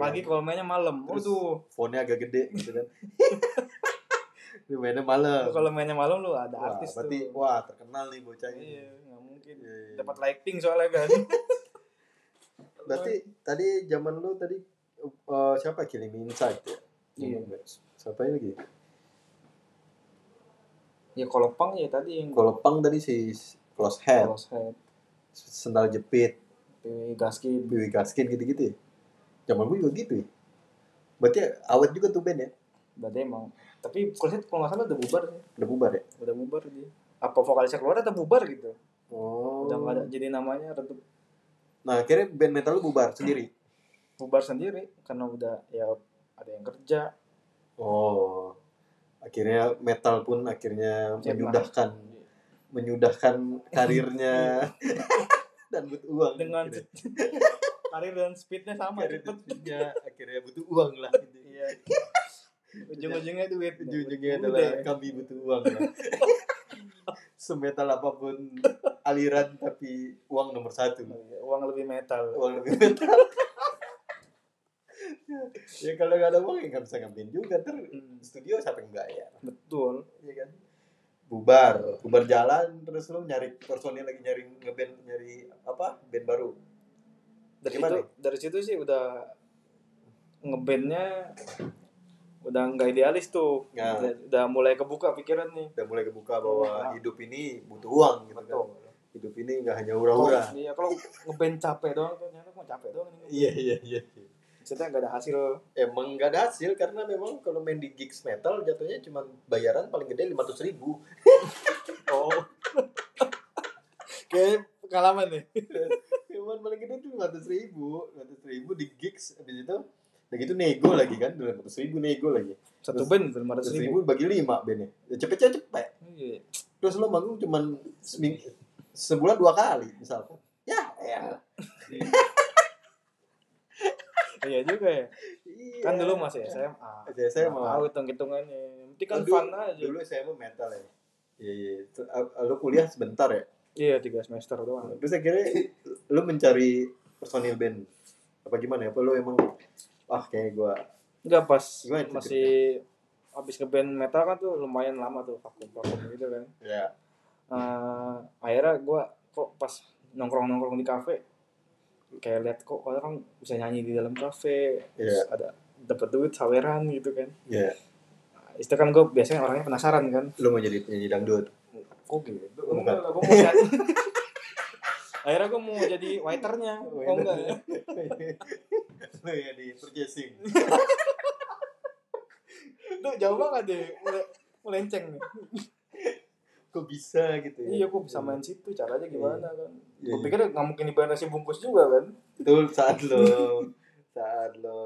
Speaker 2: pagi kalau mainnya malam
Speaker 1: Terus-
Speaker 2: waduh
Speaker 1: fontnya agak gede gitu kan. Ini mainnya malam.
Speaker 2: kalau mainnya malam lu ada
Speaker 1: Wah,
Speaker 2: artis
Speaker 1: berarti
Speaker 2: tuh
Speaker 1: wah terkenal nih bocahnya.
Speaker 2: iya nggak mungkin
Speaker 1: Iya, iya.
Speaker 2: dapat lighting soalnya kan
Speaker 1: Berarti
Speaker 2: Iya.
Speaker 1: tadi zaman lu tadi eh, siapa Killing Me Inside ya?
Speaker 2: Iya.
Speaker 1: Siapa lagi?
Speaker 2: ya kalau pang ya tadi yang
Speaker 1: Kalau pang tadi si Close Head,
Speaker 2: Cross head,
Speaker 1: Sendal Jepit,
Speaker 2: PW Gaskin.
Speaker 1: Biwi Gaskin gitu-gitu ya. Zaman gue juga gitu ya. Berarti awet juga tuh band ya.
Speaker 2: Berarti emang. Tapi Cross head kalau nggak salah udah bubar sih.
Speaker 1: Udah bubar ya.
Speaker 2: Udah bubar dia. Apa vokalisnya keluar atau bubar gitu.
Speaker 1: Oh.
Speaker 2: Udah nggak ada jadi namanya redup
Speaker 1: Nah akhirnya band metal lu bubar sendiri.
Speaker 2: bubar sendiri karena udah ya ada yang kerja.
Speaker 1: Oh. Akhirnya metal pun akhirnya
Speaker 2: Ya,
Speaker 1: menyudahkan menyudahkan karirnya dan butuh uang
Speaker 2: Dengan
Speaker 1: akhirnya.
Speaker 2: karir dan speednya sama
Speaker 1: Karir
Speaker 2: cepet.
Speaker 1: dunia akhirnya butuh uang lah
Speaker 2: Iya. Ujung-ujungnya duit.
Speaker 1: ujung-ujungnya
Speaker 2: Udah.
Speaker 1: adalah kami butuh uang lah. semetal apapun aliran tapi uang nomor satu
Speaker 2: Uang lebih metal.
Speaker 1: uang lebih metal ya kalau nggak ada uang ya nggak bisa ngambil juga ter
Speaker 2: Hmm.
Speaker 1: studio siapa yang bayar
Speaker 2: Betul.
Speaker 1: ya kan bubar bubar jalan terus lu nyari personil lagi nyari ngeband nyari apa band baru
Speaker 2: Dari
Speaker 1: Gimana?
Speaker 2: situ, dari situ sih udah ngebandnya udah nggak idealis tuh.
Speaker 1: Ya.
Speaker 2: Udah, udah mulai kebuka pikiran nih.
Speaker 1: udah mulai kebuka bahwa
Speaker 2: Iya.
Speaker 1: hidup ini butuh uang gitu kan hidup ini nggak hanya hura-hura
Speaker 2: Iya, kalau ngeband capek doang tuh ternyata mau capek doang ini.
Speaker 1: iya iya iya iya.
Speaker 2: Maksudnya nggak ada hasil.
Speaker 1: emang nggak ada hasil karena memang kalau main di gigs metal jatuhnya cuma bayaran paling gede lima ratus ribu
Speaker 2: Oh. Kayak pengalaman nih.
Speaker 1: Cuman paling gede tuh lima ratus ribu, lima ribu di gigs abis itu, udah gitu nego lagi kan, dua ratus ribu nego lagi,
Speaker 2: Satu
Speaker 1: Terus-
Speaker 2: band lima
Speaker 1: ratus
Speaker 2: ratus ribu.
Speaker 1: ribu bagi lima bandnya, ya cepet cepet cepet,
Speaker 2: Iya.
Speaker 1: terus lo manggung cuman seming- sebulan dua kali misalkan, ya ya,
Speaker 2: Iya juga ya.
Speaker 1: iya.
Speaker 2: Kan dulu masih SMA.
Speaker 1: Aja saya
Speaker 2: Nggak
Speaker 1: mau
Speaker 2: tahu hitung hitungannya. Yang penting kan
Speaker 1: Dulu-
Speaker 2: fun aja.
Speaker 1: dulu saya mau metal ya, iya iya, Ter- ah, lo kuliah sebentar ya,
Speaker 2: Iya tiga semester doang.
Speaker 1: terus akhirnya lo mencari personil band apa gimana ya, apa lo emang ah kayak gua
Speaker 2: Enggak pas
Speaker 1: Gimana itu
Speaker 2: masih habis ke band metal kan tuh lumayan lama tuh vakum vakum gitu kan.
Speaker 1: ya
Speaker 2: Eh, akhirnya gue kok pas nongkrong nongkrong di kafe kayak lihat kok orang bisa nyanyi di dalam kafe
Speaker 1: Iya.
Speaker 2: terus ada dapat duit saweran gitu kan.
Speaker 1: ya
Speaker 2: Nah, itu kan gue biasanya orangnya penasaran kan.
Speaker 1: lo mau jadi penyanyi dangdut
Speaker 2: Kok gitu?
Speaker 1: Bukan.
Speaker 2: Enggak lah, gua mau jadi. Akhirnya gue mau jadi waiternya. Oh enggak ya?
Speaker 1: Lu ya di purchasing.
Speaker 2: Duh, jauh banget deh. Mulai, melenceng nih.
Speaker 1: Kok bisa gitu ya?
Speaker 2: Iya, gue bisa main situ. Caranya gimana kan?
Speaker 1: Iya,
Speaker 2: Gue
Speaker 1: iya.
Speaker 2: pikir nggak mungkin dibayar nasi bungkus juga kan?
Speaker 1: Itu saat lo saat lo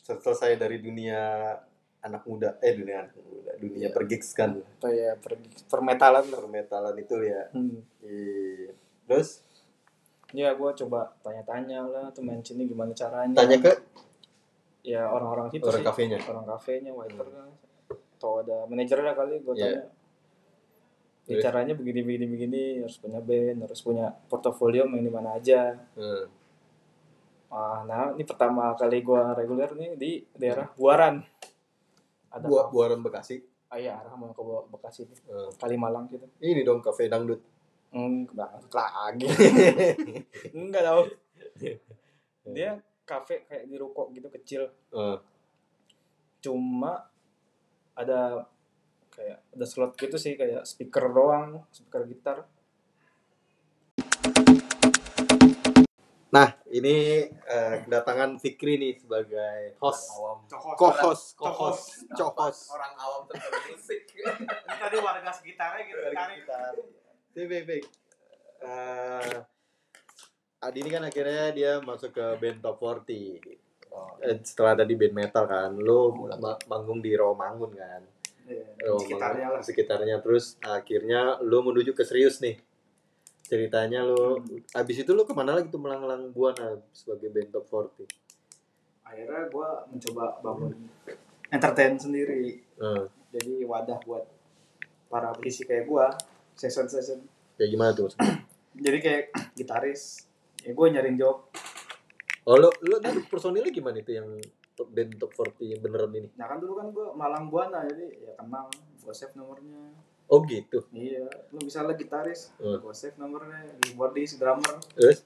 Speaker 1: sel- selesai dari dunia anak muda eh dunia anak muda dunia pergigs kan
Speaker 2: Kayak ya, pergi permetalan lah.
Speaker 1: permetalan itu ya
Speaker 2: Hmm.
Speaker 1: Iya. terus
Speaker 2: Ya, gue coba tanya-tanya lah. Tuh main sini gimana caranya?
Speaker 1: tanya ke
Speaker 2: Ya, orang-orang situ
Speaker 1: orang
Speaker 2: sih.
Speaker 1: kafenya
Speaker 2: Orang kafenya, waiter kan. Atau ada manajernya kali gue
Speaker 1: Iya.
Speaker 2: tanya. Ya, caranya begini-begini-begini. Harus punya band, harus punya portofolio main di mana aja.
Speaker 1: Hmm.
Speaker 2: Ah, nah ini pertama kali gua reguler nih di daerah Buaran. Ada
Speaker 1: Bu-
Speaker 2: Buat.
Speaker 1: buaran bekasi
Speaker 2: Ah, iya, arah mau ke Bo- Bekasi itu.
Speaker 1: Hmm.
Speaker 2: Kalimalang gitu.
Speaker 1: ini dong kafe dangdut
Speaker 2: Hmm, banget lagi. Enggak tahu. Dia kafe kayak di ruko gitu kecil.
Speaker 1: Hmm.
Speaker 2: Cuma ada kayak ada slot gitu sih kayak speaker doang, speaker gitar.
Speaker 1: nah ini eh, kedatangan Fikri nih sebagai host
Speaker 3: awam
Speaker 1: co-host co-host co-host
Speaker 3: orang awam tentang musik
Speaker 2: Tadi warga sekitarnya gitu.
Speaker 1: Tapi baik baik. Eh, Adi ini kan akhirnya dia masuk ke band top 40.
Speaker 3: Oh,
Speaker 1: Eh, setelah tadi band metal kan, lo ma- manggung di Rawamangun kan. Rawamangun,
Speaker 2: Iya, sekitarnya lah.
Speaker 1: Sekitarnya terus akhirnya lo menuju ke serius nih. Ceritanya lo
Speaker 2: Hmm.
Speaker 1: abis itu lo kemana lagi tuh melanglang buana sebagai band top 40?
Speaker 2: Akhirnya gua mencoba bangun entertain sendiri.
Speaker 1: Hmm,
Speaker 2: jadi wadah buat para musisi kayak gua session session
Speaker 1: kayak gimana tuh? maksudnya?
Speaker 2: jadi kayak gitaris ya gua nyariin job
Speaker 1: Oh lo lo tadi personilnya gimana itu yang top- band top 40 yang beneran ini?
Speaker 2: nah kan dulu kan gua malang buana jadi ya kenal gua save nomornya
Speaker 1: Oh gitu.
Speaker 2: iya lu misalnya gitaris
Speaker 3: Iya.
Speaker 1: Hmm.
Speaker 2: gua save nomornya keyboardis drummer
Speaker 1: Terus?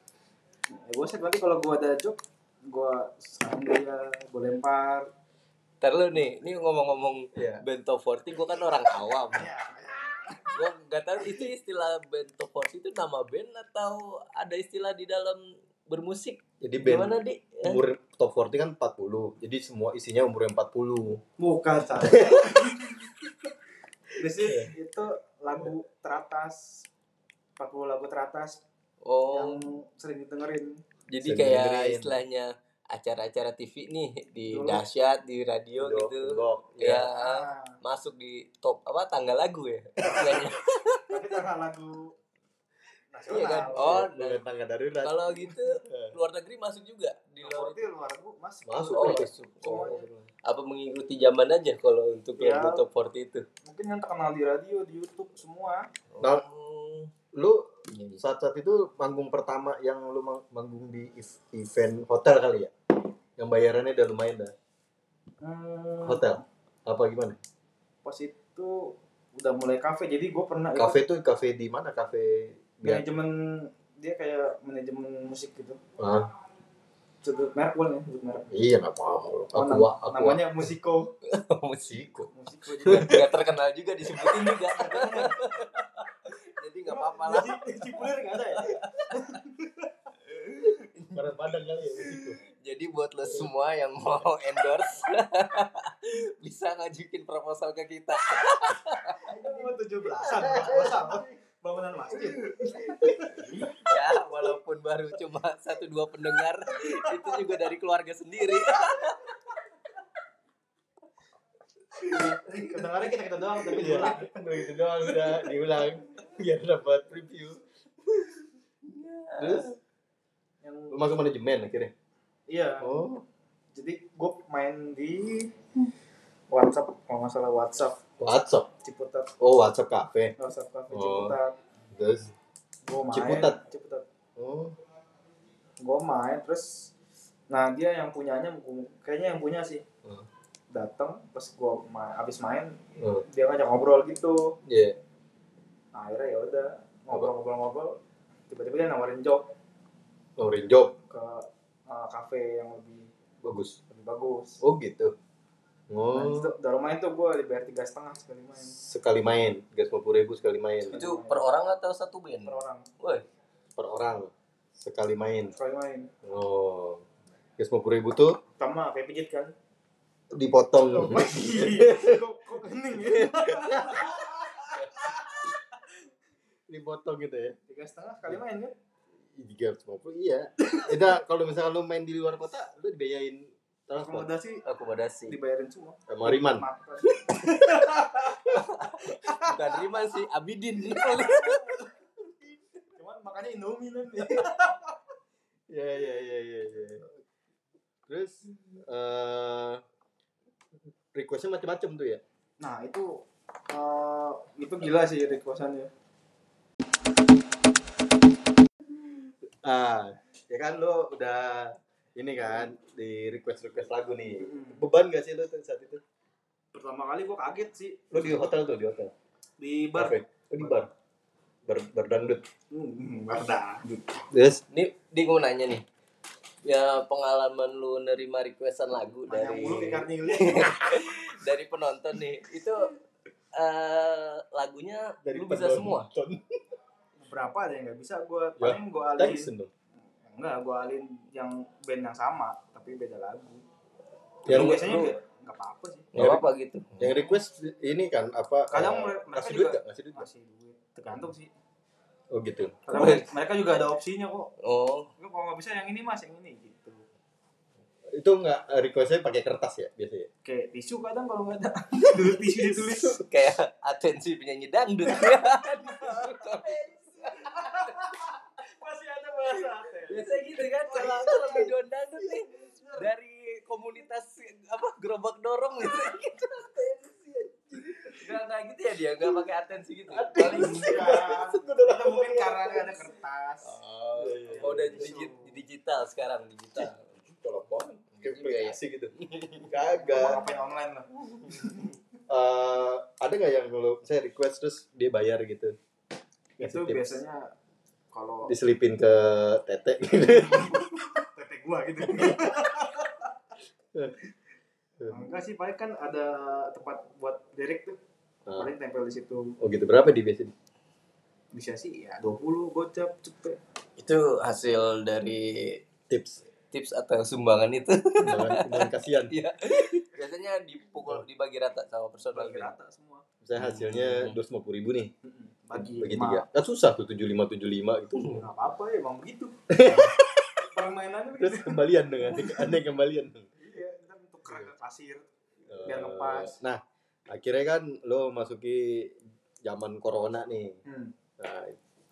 Speaker 2: ya gua save nanti kalau gua ada job gua saran dia gua lempar
Speaker 3: Ntar lu nih, ini ngomong-ngomong
Speaker 1: Iya.
Speaker 3: band top 40, gue kan orang awam Gue gak tahu itu istilah band top 40 itu nama band atau ada istilah di dalam bermusik
Speaker 1: Jadi band
Speaker 3: Gimana di? Eh,
Speaker 1: umur top 40 kan 40 jadi semua isinya umurnya 40
Speaker 2: bukan saya Biasanya
Speaker 3: Iya.
Speaker 2: itu lagu teratas 40 lagu teratas yang
Speaker 3: Oh,
Speaker 2: sering didengerin
Speaker 3: jadi
Speaker 1: sering
Speaker 3: kayak
Speaker 1: dengerin.
Speaker 3: istilahnya acara-acara TV nih di
Speaker 2: Dulu.
Speaker 3: dahsyat, di radio
Speaker 1: Dok,
Speaker 3: gitu
Speaker 1: dok, ya
Speaker 3: Ya,
Speaker 2: Ah,
Speaker 3: masuk di top apa tanggal lagu ya istilahnya
Speaker 2: Nah, tapi karena lagu nasional
Speaker 3: Iya kan?
Speaker 1: Ya,
Speaker 2: oh
Speaker 3: Oh,
Speaker 1: bukan tangga darurat Ya.
Speaker 3: kalau gitu luar negeri masuk juga di luar
Speaker 2: berarti luar lagu masuk
Speaker 1: Masuk,
Speaker 3: Oh,
Speaker 1: Bro.
Speaker 3: masuk. Oh.
Speaker 2: Semuanya.
Speaker 3: Apa mengikuti zaman aja kalau untuk
Speaker 2: Ya.
Speaker 1: Iya.
Speaker 3: lagu top 40 itu?
Speaker 2: mungkin yang terkenal di radio di YouTube semua
Speaker 1: Nah.
Speaker 3: Oh.
Speaker 1: lu saat saat itu manggung pertama yang lu mang- manggung di ev- event hotel kali ya yang Yang bayarannya udah lumayan dah.
Speaker 2: Hmm,
Speaker 1: Hotel. Apa gimana?
Speaker 2: pas itu udah mulai kafe jadi gue pernah ikut
Speaker 1: Kafe ya. tuh kafe di mana? Kafe biar.
Speaker 2: manajemen dia kayak manajemen musik gitu
Speaker 1: Ah,
Speaker 2: sebut merek boleh ya sebut merek
Speaker 1: iya nggak paham lu.
Speaker 2: Oh,
Speaker 1: Aku
Speaker 2: nam-
Speaker 1: wah, aku wah.
Speaker 2: namanya musiko
Speaker 3: musiko
Speaker 2: musiko juga
Speaker 3: nggak terkenal juga disebutin juga jadi nggak apa-apa lah
Speaker 2: Di- di Cipulir nggak ada ya
Speaker 1: Karena Padang kali ya. Musiko.
Speaker 3: jadi buat lo semua yang mau endorse bisa ngajukin proposal ke kita
Speaker 2: Ini tujuh belasan sama bangunan masjid
Speaker 3: ya walaupun baru cuma satu dua pendengar itu juga dari keluarga sendiri
Speaker 2: kedengarannya kita kita doang tapi
Speaker 1: Iya.
Speaker 2: diulang
Speaker 1: Udah gitu doang udah diulang biar dapat review. Terus
Speaker 2: yang
Speaker 1: lu masuk manajemen akhirnya.
Speaker 2: iya
Speaker 1: Oh,
Speaker 2: jadi gue main di WhatsApp kalau nggak salah WhatsApp
Speaker 1: WhatsApp.
Speaker 2: Ciputat
Speaker 1: Oh, WhatsApp kafe.
Speaker 2: WhatsApp Cafe
Speaker 1: Oh.
Speaker 2: Ciputat
Speaker 1: Terus
Speaker 2: gue main
Speaker 1: Ciputat.
Speaker 2: Ciputat
Speaker 1: oh,
Speaker 2: gue main terus nah dia yang punyanya kayaknya yang punya sih
Speaker 1: Hmm.
Speaker 2: datang pas gue main abis main
Speaker 1: oh,
Speaker 2: dia ngajak ngobrol gitu
Speaker 1: iya.
Speaker 2: nah, akhirnya ya udah ngobrol-ngobrol-ngobrol tiba-tiba dia nawarin job
Speaker 1: Ngeluarin job
Speaker 2: ke eh, kafe yang lebih
Speaker 1: bagus.
Speaker 2: lebih bagus
Speaker 1: Oh, gitu.
Speaker 2: Nah,
Speaker 1: Oh.
Speaker 2: itu dari main tuh gue dibayar tiga setengah sekali main
Speaker 1: sekali main, gas ribu sekali main
Speaker 3: itu per orang atau satu band
Speaker 2: per orang
Speaker 3: Woi,
Speaker 1: per orang sekali main.
Speaker 2: sekali main
Speaker 1: Oh, gas ribu tuh
Speaker 2: sama kayak pijit kan
Speaker 1: dipotong.
Speaker 2: kok kok hening ya
Speaker 1: dipotong gitu ya.
Speaker 2: tiga setengah sekali main kan
Speaker 1: Tiga ratus iya. Eda kalau misalnya lu main di luar kota, lu dibiayain transport.
Speaker 2: akomodasi
Speaker 3: akomodasi
Speaker 2: dibayarin semua
Speaker 1: Sama Riman.
Speaker 2: Makan.
Speaker 3: bukan Riman sih Abidin
Speaker 2: cuman makanya indomie nanti
Speaker 1: Iya iya iya iya. iya. Terus eh requestnya macam-macam tuh ya.
Speaker 2: nah itu eh, itu gila sih requestannya
Speaker 1: Ah, ya kan lu udah ini kan di request request lagu nih. Beban gak sih lu tuh saat itu?
Speaker 2: pertama kali gua kaget sih
Speaker 1: Lu di hotel tuh di hotel.
Speaker 2: di bar
Speaker 1: Kafe. Oh, di bar. Bar, bar dangdut.
Speaker 2: hmm, bar dah
Speaker 1: Terus
Speaker 3: nih di gue nanya nih ya pengalaman lu nerima requestan lagu
Speaker 2: banyak
Speaker 3: dari
Speaker 2: mulu kan. ikan nili
Speaker 3: dari penonton nih itu eh, lagunya lu bisa semua
Speaker 2: berapa ada yang nggak bisa gua
Speaker 1: Ya.
Speaker 2: paling gua alihin
Speaker 1: Tyson dong.
Speaker 2: enggak gua alihin yang band yang sama tapi beda lagu
Speaker 1: Yang
Speaker 2: Tapi
Speaker 3: Lu-
Speaker 2: biasanya
Speaker 3: lu-
Speaker 2: nggak nggak apa-apa sih
Speaker 3: nggak apa gitu
Speaker 1: Yang request ini kan apa?
Speaker 2: Kadang
Speaker 1: eh,
Speaker 2: mereka
Speaker 1: ngasih
Speaker 2: juga-
Speaker 1: duit gak? Ngasih duit nggak?
Speaker 2: masih duit tergantung sih
Speaker 1: Oh gitu.
Speaker 2: karena mereka- mereka juga ada opsinya kok
Speaker 3: oh
Speaker 2: lu kalau nggak bisa yang ini mas yang ini gitu
Speaker 1: Itu nggak eh, requestnya pakai kertas ya biasanya.
Speaker 2: kayak tisu kadang kalau nggak ada dulu tisu ditulis
Speaker 3: kayak atensi penyanyi dangdut
Speaker 2: masih ada bahasa Aten.
Speaker 3: biasa gitu kan kalau kalau videoan dangdut nih dari komunitas apa gerobak dorong gitu gitu nggak nggak gitu ya dia nggak pakai atensi gitu paling
Speaker 2: Enggak. Atau mungkin karena nggak ada kertas
Speaker 1: Oh, iya.
Speaker 3: oh, udah digi- digital sekarang digital
Speaker 1: Tolong banget. Kayak
Speaker 3: Juga ya.
Speaker 1: aplikasi gitu.
Speaker 2: Mau
Speaker 1: Kagak.
Speaker 2: ngapain online lah
Speaker 1: Eh, ada nggak yang lo saya request terus dia bayar gitu?
Speaker 2: itu
Speaker 1: Ngasih tips.
Speaker 2: biasanya kalau
Speaker 1: diselipin ke tete gitu.
Speaker 2: tete gua gitu enggak sih paling kan ada tempat buat direct tuh
Speaker 1: Ah.
Speaker 2: paling tempel di situ
Speaker 1: Oh gitu berapa di biasanya?
Speaker 2: bisa sih ya 20 gocap cepet
Speaker 3: itu hasil dari
Speaker 1: Tips.
Speaker 3: tips atau sumbangan itu
Speaker 1: Jangan jangan kasihan.
Speaker 3: Iya. Biasanya dipukul dibagi rata sama personal
Speaker 2: bagi
Speaker 3: band.
Speaker 2: rata semua
Speaker 1: Misalnya hasilnya
Speaker 3: Hmm.
Speaker 1: dua ribu nih.
Speaker 2: Mm-mm.
Speaker 1: Bagi,
Speaker 2: bagi
Speaker 1: tiga.
Speaker 2: lima
Speaker 1: Kan susah tuh tujuh lima tujuh lima gitu.
Speaker 2: nggak apa-apa ya emang begitu permainannya begitu
Speaker 1: Terus kembalian dong, ada ada yang kembalian dong.
Speaker 2: iya ntar tuker ke kasir
Speaker 1: Eh,
Speaker 2: ngepas.
Speaker 1: Nah, akhirnya kan lo masuki zaman corona nih.
Speaker 2: hmm.
Speaker 1: Nah,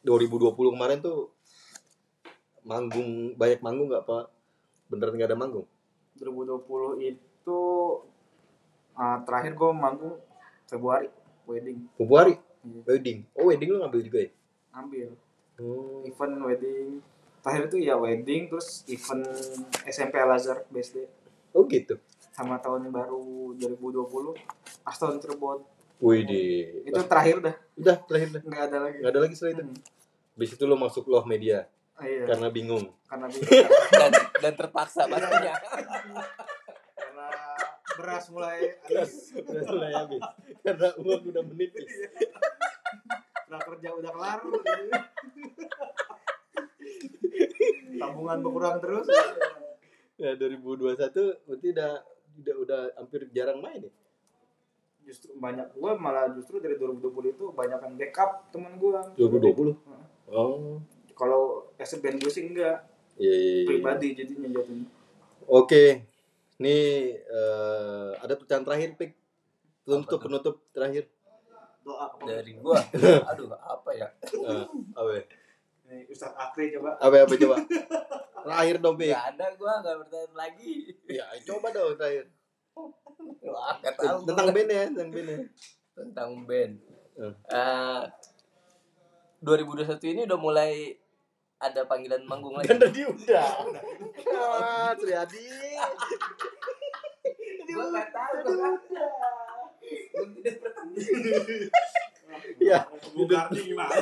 Speaker 1: 2020 kemarin tuh manggung banyak manggung nggak pak? Beneran nggak ada manggung?
Speaker 2: 2020 itu uh, terakhir gue manggung Februari wedding
Speaker 1: Februari
Speaker 2: Iya.
Speaker 1: wedding. Oh wedding lo ngambil juga ya?
Speaker 2: ambil
Speaker 1: Hmm.
Speaker 2: event wedding terakhir itu ya wedding terus event SMP Al Azhar BSD
Speaker 1: Oh gitu.
Speaker 2: sama tahun baru 2020 Aston Cirebon
Speaker 1: Wih di.
Speaker 2: itu terakhir dah
Speaker 1: Udah terakhir dah.
Speaker 2: nggak ada lagi
Speaker 1: Nggak ada lagi selain itu.
Speaker 2: Hmm.
Speaker 1: Habis itu lo masuk loh media
Speaker 2: Ah, iya.
Speaker 1: karena bingung.
Speaker 2: karena bingung.
Speaker 3: dan, dan terpaksa pastinya
Speaker 2: karena beras mulai habis
Speaker 1: Mulai habis. ya, karena uang udah menipis.
Speaker 2: Nah kerja udah kelar. Tabungan berkurang terus.
Speaker 1: Ya 2021 berarti udah udah udah hampir jarang main ya.
Speaker 2: Justru banyak gue malah justru dari 2020 itu banyak yang backup teman gue.
Speaker 1: 2020. Oh.
Speaker 2: Kalau as a band gue sih enggak
Speaker 1: Iya, iya, iya.
Speaker 2: pribadi jadinya jatuhnya.
Speaker 1: Oke. Nih eh, ada pertanyaan terakhir pik. Penutup
Speaker 3: tuh?
Speaker 1: penutup terakhir.
Speaker 2: Doa apa?
Speaker 3: dari gua aduh apa ya
Speaker 1: Eh, apa? ya?
Speaker 2: Nih, Ustaz Akri coba.
Speaker 1: Apa apa coba? Terakhir dong pik.
Speaker 3: nggak ada gua nggak bertanya lagi
Speaker 1: Ya coba dong terakhir.
Speaker 3: wah nggak tahu gua.
Speaker 1: Tentang band ya, tentang band ya.
Speaker 3: tentang band
Speaker 1: Eh.
Speaker 3: Eh, 2021 ini udah mulai ada panggilan manggung lagi
Speaker 1: Kan tadi udah. Ah, Triadi.
Speaker 3: Gua nggak tahu gua nggak- Gua tidak bertanya
Speaker 1: Ya,
Speaker 2: Bukan nih gimana?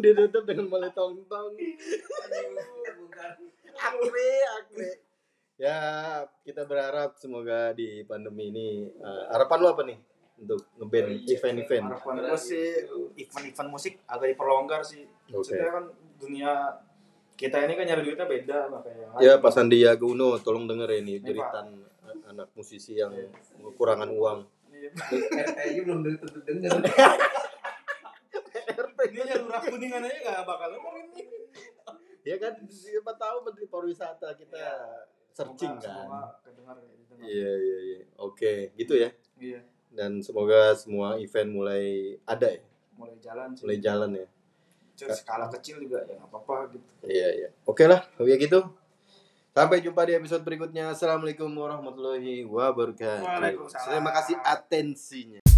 Speaker 1: ditutup dengan mulai tong-tong. Akre, akre. Ya, kita berharap semoga di pandemi ini eh, harapan lo apa nih untuk ngeband event-event?
Speaker 2: Harapan gue sih event-event musik agak diperlonggar sih.
Speaker 1: Oke.
Speaker 2: Maksudnya kan dunia kita ini kan nyari duitnya beda makanya.
Speaker 1: Ya, Pak Sandiaga Uno, tolong denger ya ini jeritan anak musisi yang kekurangan uang.
Speaker 2: Iya.
Speaker 3: RT-nya belum tentu dengar
Speaker 2: Dia jalurah kuningan aja gak bakal dengerin nih.
Speaker 1: Ya kan, siapa tahu Menteri Pariwisata kita
Speaker 2: Iya.
Speaker 1: searching
Speaker 2: Semoga- semoga
Speaker 1: kan.
Speaker 2: kedengar ya, didengar.
Speaker 1: Iya, iya, iya. Oke, gitu ya.
Speaker 2: Iya,
Speaker 1: dan semoga semua event mulai ada ya,
Speaker 2: mulai jalan sih.
Speaker 1: mulai jalan ya.
Speaker 2: Terus skala kecil juga ya nggak apa-apa gitu.
Speaker 1: Iya iya. Oke lah, kalau ya gitu. Sampai jumpa di episode berikutnya. Assalamualaikum warahmatullahi wabarakatuh.
Speaker 2: Waalaikumsalam.
Speaker 1: Terima kasih atensinya.